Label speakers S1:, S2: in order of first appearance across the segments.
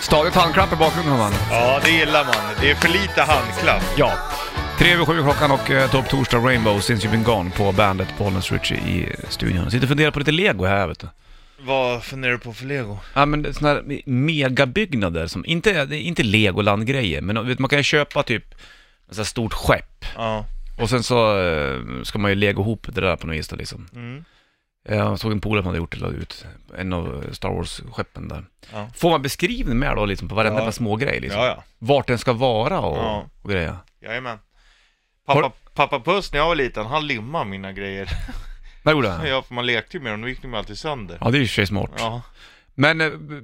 S1: Stavigt handklapp i bakgrunden man.
S2: Ja, det gillar man. Det är för lite handklapp.
S1: Ja. Tre över sju klockan och eh, topp torsdag Rainbow since you've been gone på bandet Bollnäs Ritchie i eh, studion. Sitter och funderar på lite lego här vet du.
S2: Vad funderar du på för lego?
S1: Ja men sådana här megabyggnader som, inte, det är inte legoland-grejer, men vet, man kan ju köpa typ ett sånt här stort skepp.
S2: Ja.
S1: Och sen så eh, ska man ju lego ihop det där på något vis då, liksom.
S2: Mm.
S1: Jag såg en polare som hade gjort det, la ut en av Star Wars-skeppen där.
S2: Ja.
S1: Får man beskrivning med då liksom på varenda
S2: Ja.
S1: jävla smågrej liksom?
S2: Ja, ja.
S1: Vart den ska vara och,
S2: Ja.
S1: och grejer.
S2: Jajamän. Pappa,
S1: Har-
S2: pappa Puss när jag var liten, han limmade mina grejer.
S1: Vad gjorde han?
S2: Ja, för man lekte ju med dem, då gick de ju alltid sönder.
S1: Ja, det är ju i och för sig smart.
S2: Ja,
S1: Men eh, b-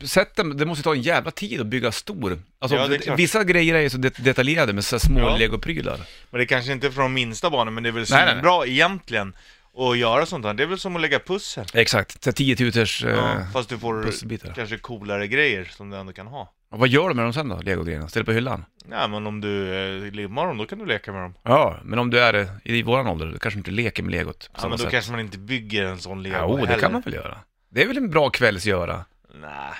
S1: b- sätt den, det måste ju ta en jävla tid att bygga stor. Alltså,
S2: Ja, det är klart.
S1: vissa grejer är ju så det- detaljerade med så här små
S2: Ja.
S1: legoprylar.
S2: men det kanske inte är från de minsta barnen, men det är väl
S1: Nej, nej,
S2: svinbra bra egentligen att göra sånt här. Det är väl som att lägga pussel.
S1: Exakt, så här 10 tutors... Eh,
S2: Ja, fast du får
S1: pusselbitar.
S2: kanske coolare grejer som du ändå kan ha.
S1: och Vad gör du med dem sen då, legogrejerna? Ställer på hyllan?
S2: Nej, men om du eh, limmar dem, då kan du leka med dem.
S1: Ja, men om du är eh, i våran ålder, du kanske inte leker med legot på
S2: Ja,
S1: samma
S2: men då
S1: sätt.
S2: kanske man inte bygger en sån lego
S1: Ja, oh, det
S2: heller.
S1: kan man väl göra. Det är väl en bra kvällsgöra.
S2: Nej.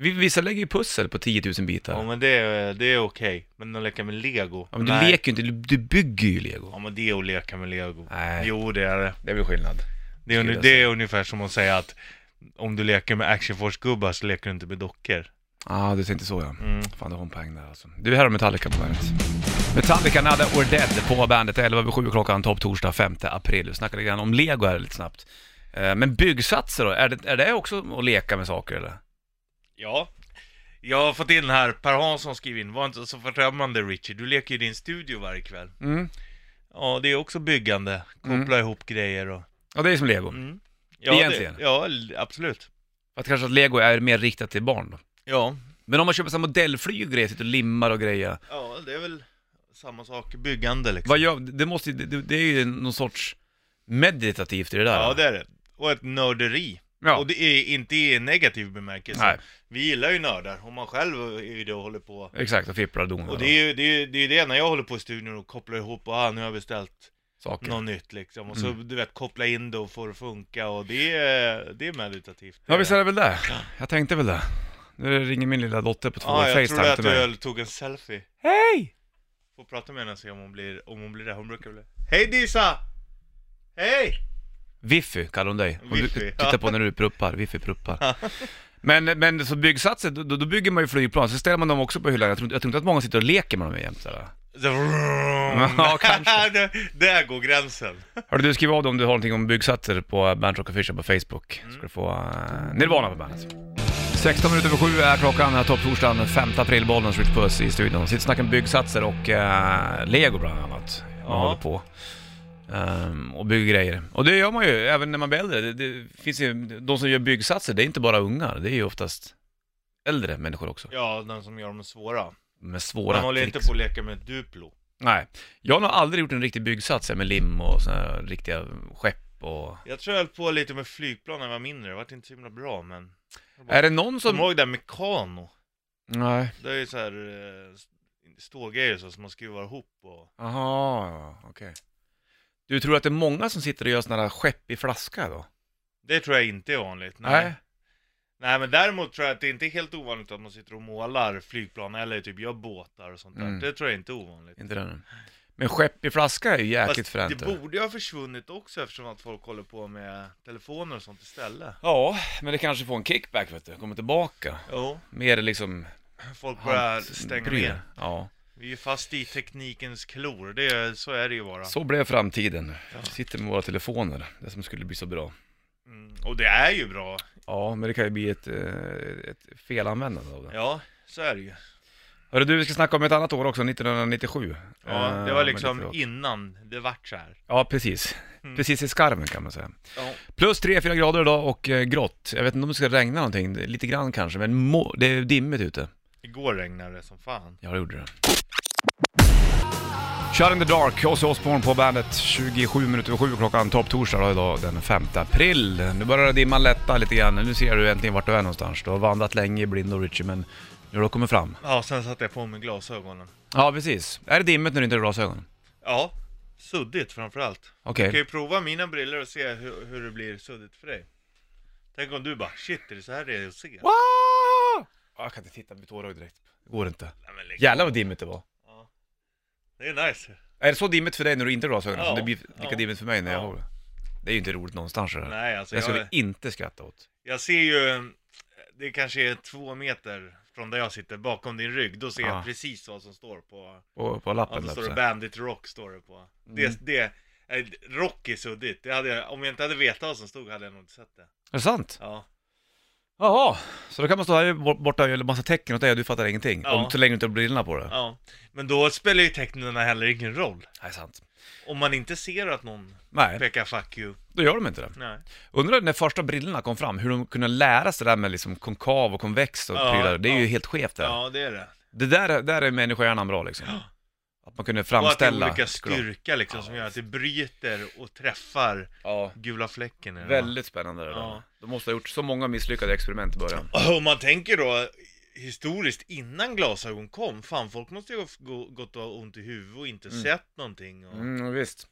S1: Vi- Vissa lägger ju pussel på 10 000 bitar.
S2: Ja men det är, det är okej, men att leka med lego?
S1: Ja, men du
S2: Nej.
S1: leker ju inte, du, du bygger ju lego.
S2: Ja men det är att leka med lego.
S1: Nej.
S2: Jo det är det.
S1: Det är väl skillnad.
S2: Det är,
S1: Skulle
S2: uni-
S1: jag
S2: det är ungefär som att säga att om du leker med actionforce-gubbar så leker du inte med dockor.
S1: Ja, ah, du tänkte så ja.
S2: Mm.
S1: Fan, du har en poäng där alltså. Du är här med Metallica på bandet. Metallica, Nada or Dead på bandet 11 över 7 klockan, topp torsdag 5 april. Vi snackade lite grann om lego här lite snabbt. Eh, Men byggsatser då, är det, är det också att leka med saker eller?
S2: Ja. Jag har fått in här, Per Hansson skriver in, var inte så förtrömmande Richie, du leker ju i din studio varje kväll.
S1: Mm.
S2: Ja, det är också byggande, koppla ihop grejer och...
S1: Ja, Mm. det är som lego.
S2: Mm. Ja,
S1: Egentligen.
S2: Det, ja, l- absolut.
S1: Att kanske att lego är mer riktat till barn då.
S2: Ja.
S1: Men om man köper så här modellflyg och grejer, sitter och limmar och grejer.
S2: ja, det är väl samma sak, byggande liksom.
S1: Vad gör, det måste ju- det, det är ju någon sorts meditativt i det där.
S2: Ja, det är det. Och ett nörderi.
S1: Ja.
S2: Och det är inte i negativ bemärkelse.
S1: Nej.
S2: Vi gillar ju nördar, om man själv är det och håller på.
S1: Exakt, och fipplar och donar
S2: Och det är ju det, är, ju- det, är ju det när jag håller på i studion och kopplar ihop, och ah, nu har jag beställt
S1: och saker.
S2: något nytt liksom. Och så
S1: Mm.
S2: du vet, koppla in det och få det att funka och det är, det är meditativt.
S1: Ja, visst är det väl det. Jag tänkte väl det. Nu ringer min lilla dotter på två
S2: Ja,
S1: år,
S2: jag trodde
S1: Facetime
S2: att
S1: till mig.
S2: du tog en selfie.
S1: Hej!
S2: Får prata med henne och se om hon blir, om hon blir det. Hon brukar bli Hej Disa! Hej!
S1: Viffy kallar hon dig. Hon
S2: Viffy,
S1: du-
S2: ja.
S1: tittar på när du pruppar, Viffy pruppar. Men, men så byggsatser, då, då bygger man ju flygplan, så ställer man dem också på hyllan. Jag tror, inte- jag tror inte att många sitter och leker med dem jämt sådär.
S2: Så...
S1: Ja, kanske.
S2: Där- Där går gränsen.
S1: Hörru du, skriv av dig om du har någonting om byggsatser på Bandrock Official på Facebook. Ska du få eh, Nirvana på bandet. 16 Mm. minuter över sju är klockan, här topptorsdagen 5 april, Bollnäs Rich Puss i studion. Sitter och snackar om byggsatser och eh, lego bland annat. Man
S2: Ja.
S1: håller på. Ehm, och bygger grejer. Och det gör man ju även när man blir äldre. Det, det finns ju, de som gör byggsatser, det är inte bara ungar, det är ju oftast äldre människor också.
S2: Ja, den som gör dem svåra.
S1: Med svåra
S2: Man håller
S1: tricks.
S2: inte på att leka med Duplo.
S1: Nej. Jag har nog aldrig gjort en riktig byggsats här med lim och såna här riktiga skepp och...
S2: Jag tror jag höll på lite med flygplan när jag var mindre, det vart inte så himla bra men...
S1: Är det någon
S2: Som...
S1: som...
S2: Kommer du ihåg det där Mekano?
S1: Nej.
S2: Det är ju såhär eh, stålgrejer så som man skruvar ihop och...
S1: Aha, okej. Du tror att det är många som sitter och gör sådana där skepp i flaska då?
S2: Det tror jag inte är vanligt. Nej. Nej men däremot tror jag att det inte är helt ovanligt att man sitter och målar flygplan eller typ gör båtar och sånt där.
S1: Mm.
S2: Det tror jag inte är ovanligt.
S1: Inte det nu. Men skepp i flaska är ju jäkligt
S2: det
S1: fränt.
S2: borde ju ha försvunnit också eftersom att folk håller på med telefoner och sånt istället.
S1: Ja, men det kanske får en kickback vet du, kommer tillbaka.
S2: Jo,
S1: Mer liksom...
S2: folk börjar
S1: hand-
S2: stänga
S1: prylar.
S2: ner.
S1: Ja,
S2: Vi är ju fast i teknikens klor, det är, så är det ju bara.
S1: så blev framtiden. Vi sitter med våra telefoner, det som skulle bli så bra.
S2: Mm. Och det är ju bra.
S1: Ja, men det kan ju bli ett, eh, ett felanvändande av det.
S2: Ja, så är det ju.
S1: Hörru du, vi ska snacka om ett annat år också, 1997.
S2: Ja, det
S1: Eh,
S2: var
S1: men
S2: liksom Mm.
S1: tillbaka.
S2: innan det vart så här.
S1: Ja, precis. Precis i skarven kan man säga.
S2: Ja.
S1: Plus 3-4 grader idag och eh, grått. Jag vet inte om det ska regna någonting, det- lite grann kanske, men må- det är dimmigt ute.
S2: Igår regnade det som fan.
S1: Ja, det gjorde det. Shut in the dark, Ozzy Osbourne på bandet. 27 minuter över 7 klockan, topptorsdag då idag den 5 april. Nu börjar dimman lätta lite grann, nu ser du äntligen vart du är någonstans. Du har vandrat länge i blindo och Richie, men nu har du kommit fram.
S2: Ja, sen satte jag på mig glasögonen.
S1: Ja, precis. Är det dimmigt när du inte har glasögon?
S2: Ja, suddigt framförallt.
S1: Okej.
S2: Du kan ju prova mina briller och se hur, hur det blir suddigt för dig. Tänk om du bara, shit är det så här det är att se?
S1: Wow! Ah, jag kan inte titta på tårögd direkt. Det går inte.
S2: Nej, men lägg-
S1: Jävlar vad dimmigt det var.
S2: Ja. Det är nice.
S1: Är det så dimmigt för dig när du inte har glasögon
S2: Ja.
S1: som det blir lika
S2: Ja.
S1: dimmigt för mig när jag
S2: Ja.
S1: har det? Det är ju inte roligt någonstans det där.
S2: Nej, alltså
S1: Det ska
S2: jag,
S1: vi inte skratta åt.
S2: jag ser ju, det kanske är två meter från där jag sitter, bakom din rygg, då ser
S1: Ja.
S2: jag precis vad som står på,
S1: På, på
S2: ja,
S1: lappen
S2: då
S1: där.
S2: står det
S1: så här. Mm.
S2: Bandit Rock står det på. Det, det, eh, rock är suddigt, det hade jag, om jag inte hade vetat vad som stod hade jag nog inte sett det.
S1: Är det sant?
S2: Ja,
S1: Jaha, så då kan man stå här bort- borta och göra massa tecken åt dig och du fattar ingenting.
S2: Ja.
S1: Om, så länge du inte har brillorna på dig.
S2: ja. Men då spelar ju tecknena heller ingen roll.
S1: Nej, sant.
S2: Om man inte ser att någon
S1: Nej,
S2: pekar 'fuck you'
S1: då gör de inte det.
S2: Nej.
S1: Undrar när första brillorna kom fram, hur de kunde lära sig det där med liksom konkav och konvex och
S2: Ja,
S1: prylar. Det är ju
S2: ja.
S1: helt skevt det.
S2: Ja, det är det.
S1: Det där, där är människohjärnan bra liksom. Att man kunde
S2: Och att det är
S1: framställa...
S2: olika styrka liksom som gör att det bryter och träffar
S1: Ja,
S2: gula fläcken. i den.
S1: väldigt spännande det där.
S2: Ja.
S1: De måste ha gjort så många misslyckade experiment i början.
S2: Om man tänker då historiskt innan glasögon kom, fan folk måste ju ha f- gå- gått och ha ont i huvudet och inte sett någonting. Och...
S1: Mm, visst.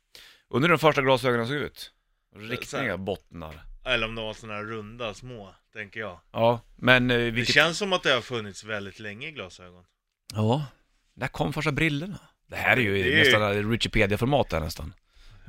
S1: Undrar hur de första glasögonen såg ut?
S2: Så här.
S1: Riktiga bottnar.
S2: Eller om de var sådana här runda, små, tänker jag.
S1: Ja, men eh,
S2: Det
S1: vilket...
S2: känns som att det har funnits väldigt länge glasögon.
S1: Ja, där kom första brillorna. Det här är ju
S2: Det är-
S1: nästan Wikipedia-format där nästan.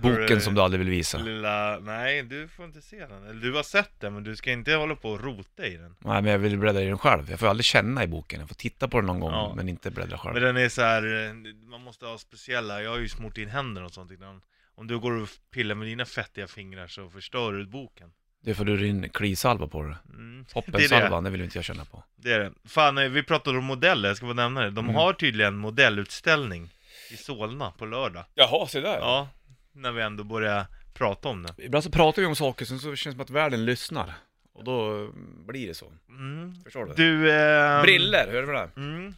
S1: Boken
S2: Hörru.
S1: som du aldrig vill visa.
S2: Lilla, nej du får inte se den. Eller du har sett den men du ska inte hålla på och rota i den.
S1: Nej, men jag vill bläddra i den själv. Jag får aldrig känna i boken. Jag får titta på den någon gång,
S2: Ja.
S1: men inte bläddra själv.
S2: Men den är så här, eh, man måste ha speciella, jag har ju smort in händerna och sånt innan. Om du går och pillar med dina fettiga fingrar så förstör du boken.
S1: Det är för du din klisalva på det.
S2: Mm.
S1: Hoppensalvan, det, vill inte jag känna på.
S2: Det är det. Fan, eh, vi pratade om modeller, jag ska bara nämna det. De
S1: Mm.
S2: har tydligen modellutställning i Solna på lördag.
S1: Jaha, se där.
S2: Ja, när vi ändå börjar prata om det.
S1: Ibland så pratar vi om saker, sen så känns det som att världen lyssnar. Och då eh, blir det så.
S2: Mm.
S1: Förstår du?
S2: Du... Eh...
S1: Briller, hur är det med det?
S2: Mm.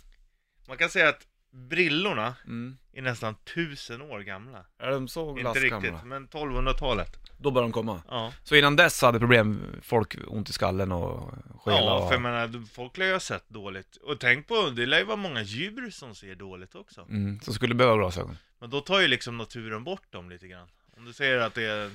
S2: Man kan säga att brillorna
S1: Mm.
S2: är nästan tusen år gamla.
S1: Är de så
S2: Inte riktigt,
S1: glassgamla?
S2: men 1200-talet.
S1: Då börjar de komma.
S2: Ja,
S1: Så innan dess hade problem folk ont i skallen och skela
S2: ja
S1: och...
S2: för jag menar, folk lär ju ha sett dåligt. Och tänk på, det lär ju vara många djur som ser dåligt också.
S1: Mm, som skulle behöva glasögon.
S2: Men då tar ju liksom naturen bort dem lite grann. Om du säger att det är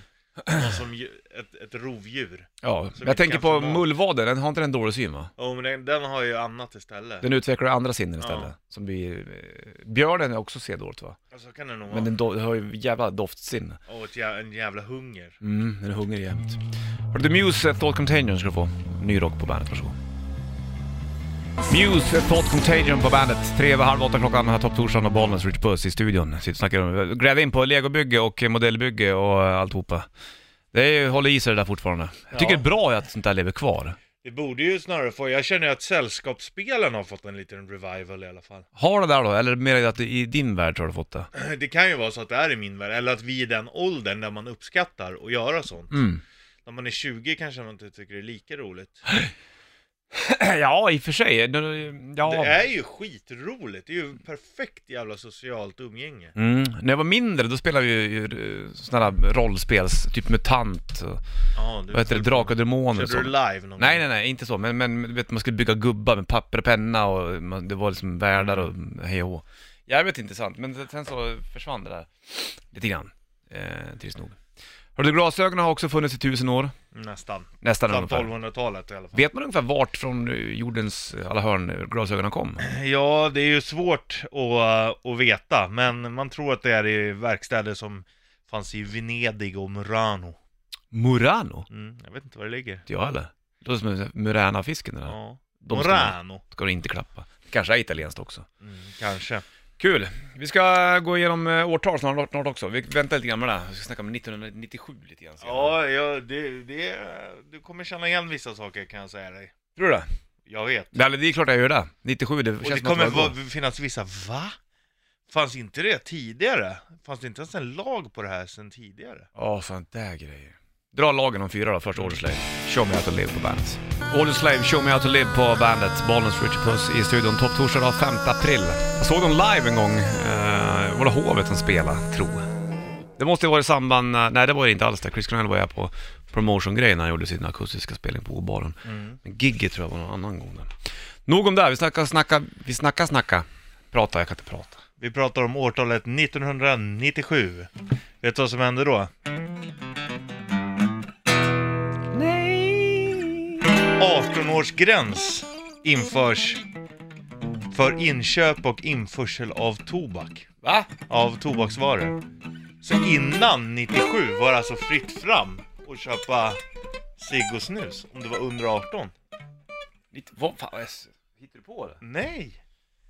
S2: någon som ju- ett, ett rovdjur.
S1: Ja,
S2: Som
S1: men jag
S2: inte
S1: tänker
S2: kan
S1: på
S2: få mat.
S1: mullvaden, den har inte den dålig syn va?
S2: Jo, men den, den har ju annat istället.
S1: Den utvecklar andra sinnen
S2: Ja.
S1: istället. Som blir... eh, Björnen är också ser dåligt va?
S2: Ja, så kan det nog vara.
S1: Men den do- har ju jävla doftsinne.
S2: Och ett jä- en jävla hunger.
S1: Mm, den är hungrig jämt. Hörru du, Muse, eh, Thought Contagion ska du få. Ny rock på bandet, varsågod. Muse, eh, Thought Contagion på bandet. Tre över halv åtta klockan, här Topp Torsdagen och Bollnäs Rich Puss i studion. Sitter och snackar om, gräver in på legobygge och eh, modellbygge och eh, alltihopa. Det är, ju- håller i sig det där fortfarande. Jag tycker
S2: Ja.
S1: det är bra att sånt där lever kvar.
S2: Det borde ju snarare få, jag känner ju att sällskapsspelen har fått en liten revival i alla fall.
S1: Har det där då, eller mer att det- i din värld har du fått det?
S2: Det kan ju vara så att det är i min värld, eller att vi är i den åldern där man uppskattar att göra sånt.
S1: Mm.
S2: När man är 20 kanske man inte tycker det är lika roligt.
S1: Ja, i och för sig. Nu- Ja.
S2: Det är ju skitroligt, det är ju perfekt jävla socialt umgänge.
S1: Mm. När jag var mindre, då spelade vi ju eh, såna där rollspels, typ MUTANT, och,
S2: Ja, du
S1: vad heter det, Drakar och Demoner och
S2: Körde du
S1: sånt.
S2: live någon
S1: Nej, nej,
S2: gång?
S1: nej, inte så, men, men du vet, man skulle bygga gubbar med papper och penna och man, det var liksom världar och hej och hå. Jävligt intressant, men sen så försvann det där lite grann, eh, trist nog. Har du glasögonen har också funnits i tusen år,
S2: Nästan.
S1: nästan
S2: Samt
S1: ungefär.
S2: 1200-talet i alla fall.
S1: Vet man ungefär vart från eh, jordens alla hörn glasögonen kom?
S2: Ja, det är ju svårt att, att veta, men man tror att det är i verkstäder som fanns i Venedig och Murano.
S1: Murano?
S2: Mm, jag vet inte var det ligger.
S1: Inte jag heller. Det låter som en sån här Murana-fisken det där.
S2: Ja.
S1: De ska man-
S2: Murano.
S1: ska du inte klappa. Kanske är italienskt också.
S2: Mm, kanske.
S1: Kul! Vi ska gå igenom eh, årtal snart, snart också. Vi väntar lite grann med det här. Vi ska snacka om 1997 lite grann senare.
S2: Ja, ja det, det, du kommer känna igen vissa saker kan jag säga dig.
S1: Tror du det?
S2: Jag vet.
S1: Ja, eller det är klart jag gör det. 97, det
S2: Och
S1: känns
S2: det
S1: som att
S2: kommer
S1: det var...
S2: va, finnas vissa, va? Fanns inte det tidigare? Fanns det inte ens en lag på det här sen tidigare?
S1: Ja, sånt där grejer. Dra lagen om fyra då, först Order Slave. Show me how to live på bandet. Order Slave, show me how to live på bandet. Bollnäs Richard Puss i studion. Topp torsdag då, 5 april. Jag såg dem live en gång. Uh, var det Hovet som spelade, tro. Det måste ju vara i samband, när- nej det var det inte alls det. Chris Cornell var jag på promotion-grejen när han gjorde sin akustiska spelning på O-baren. Men gigget tror jag var någon annan gång där. Nog om det, här. vi snackar, snacka, vi snackar, snacka. Prata, jag kan inte prata.
S2: Vi pratar om årtalet 1997. Vet du vad som hände då?
S1: Nej.
S2: 18-årsgräns införs för inköp och införsel av tobak,
S1: Va?
S2: av tobaksvaror. Så innan 97 var det alltså fritt fram att köpa cigg och snus om du var under 18.
S1: Lite, vad fan, s- hittar du på det?
S2: Nej!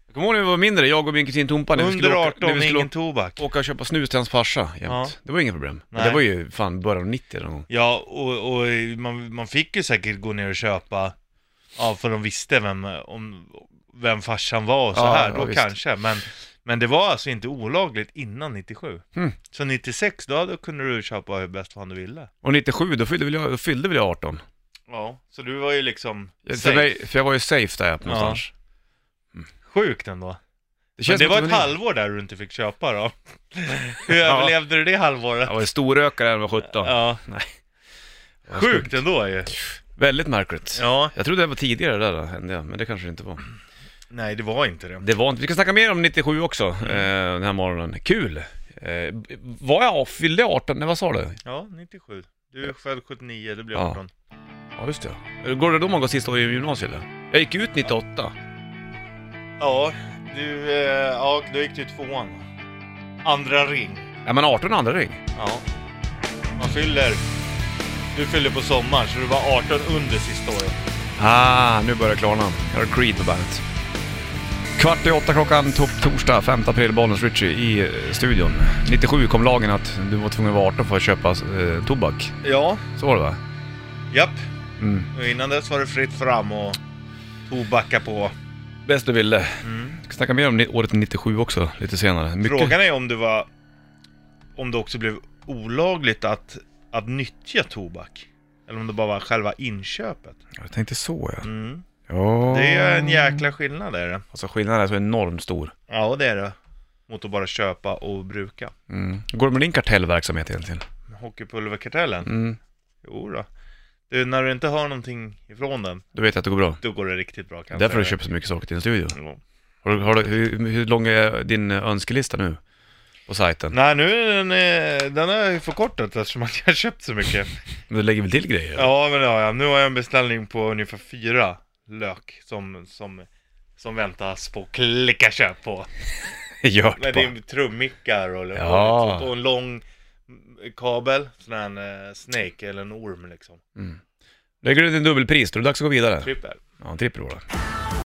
S1: Jag kommer ihåg när vi var mindre, jag och min kusin Tompa när vi skulle,
S2: Under
S1: åka, när
S2: 18,
S1: vi skulle
S2: ingen
S1: åka,
S2: tobak.
S1: åka och köpa snus till hans farsa jämt.
S2: Ja.
S1: Det var inget problem.
S2: Nej.
S1: Det var ju fan början av 90 någon gång.
S2: Ja, och, och man, man fick ju säkert gå ner och köpa, ja, för de visste vem, om, vem farsan var och så
S1: Ja,
S2: här,
S1: ja,
S2: då
S1: visst.
S2: kanske. Men, men det var alltså inte olagligt innan 97.
S1: Hmm.
S2: Så 96, då, då kunde du köpa hur bäst fan du ville.
S1: Och 97, då fyllde väl jag, då fyllde väl jag 18.
S2: Ja, så du var ju liksom
S1: För,
S2: safe.
S1: mig, för jag var ju safe där på någonstans.
S2: sjukt ändå.
S1: Det
S2: Men det
S1: som
S2: var
S1: att
S2: ett
S1: var-
S2: halvår där du inte fick köpa då. hur överlevde du det halvåret?
S1: Jag var ju storrökare när jag var 17.
S2: Ja,
S1: Det var skumt.
S2: sjukt ändå ju.
S1: Väldigt märkligt.
S2: Ja,
S1: Jag trodde det var tidigare det där hände, men det kanske det inte var.
S2: nej det var inte det.
S1: Det var inte. Vi ska snacka mer om 97 också,
S2: Mm.
S1: eh, den här morgonen. Kul! Eh, var jag, fyllde 18, nej vad sa du?
S2: Ja, 97. Du är född 79, du blir
S1: Ja.
S2: 18.
S1: Ja just det. Går det då man går sista året i gymnasiet eller? Jag gick ut 98.
S2: Ja, du, eh, ja, då gick du tvåan. Andra ring.
S1: Ja men 18 andra ring.
S2: Ja. Man fyller... Du fyller på sommaren, så du var 18 under sista året.
S1: Ah, nu börjar det klarna. Jag har Creed på bandet. Kvart i åtta klockan, to- torsdag 5 april, Bollnäs Ritchie i eh, studion. 97 kom lagen att du var tvungen att vara 18 för att köpa eh, tobak.
S2: Ja.
S1: Så var det va?
S2: Japp.
S1: Mm.
S2: Och innan dess var det fritt fram och tobacka på.
S1: Bäst du ville.
S2: Mm.
S1: Vi ska snacka mer om ni- året 97 också, lite senare. Mycket...
S2: Frågan är om det var... Om det också blev olagligt att, att nyttja tobak. Eller om det bara var själva inköpet.
S1: Jag tänkte så ja.
S2: Mm.
S1: ja.
S2: Det är en jäkla skillnad är det.
S1: Alltså skillnaden är så enormt stor.
S2: Ja, det är det. Mot att bara köpa och bruka.
S1: Mm. Hur går det med din kartellverksamhet egentligen?
S2: Hockeypulverkartellen?
S1: Mm.
S2: Jo då. Du, när du inte hör någonting ifrån den,
S1: Du vet att det går bra.
S2: då går det riktigt bra kan jag
S1: Därför har du
S2: säga
S1: köpt så mycket saker till din studio.
S2: dig. Ja.
S1: Har du, har du, hur, hur lång är din eh, önskelista nu? På sajten?
S2: Nej, nu är den, eh, den har jag ju förkortat eftersom att jag har köpt så mycket.
S1: Men du lägger väl till grejer?
S2: Ja, men ja, ja. nu har jag en beställning på ungefär fyra lök som, som, som väntas på klicka köp på.
S1: Gört
S2: Men det
S1: bara.
S2: är trummickar och, och,
S1: Ja.
S2: liksom, och en lång kabel, sån här en eh, snake eller en orm liksom.
S1: Lägger du din dubbelpris, då är det dags att gå vidare.
S2: Trippel.
S1: Ja, en trippel då.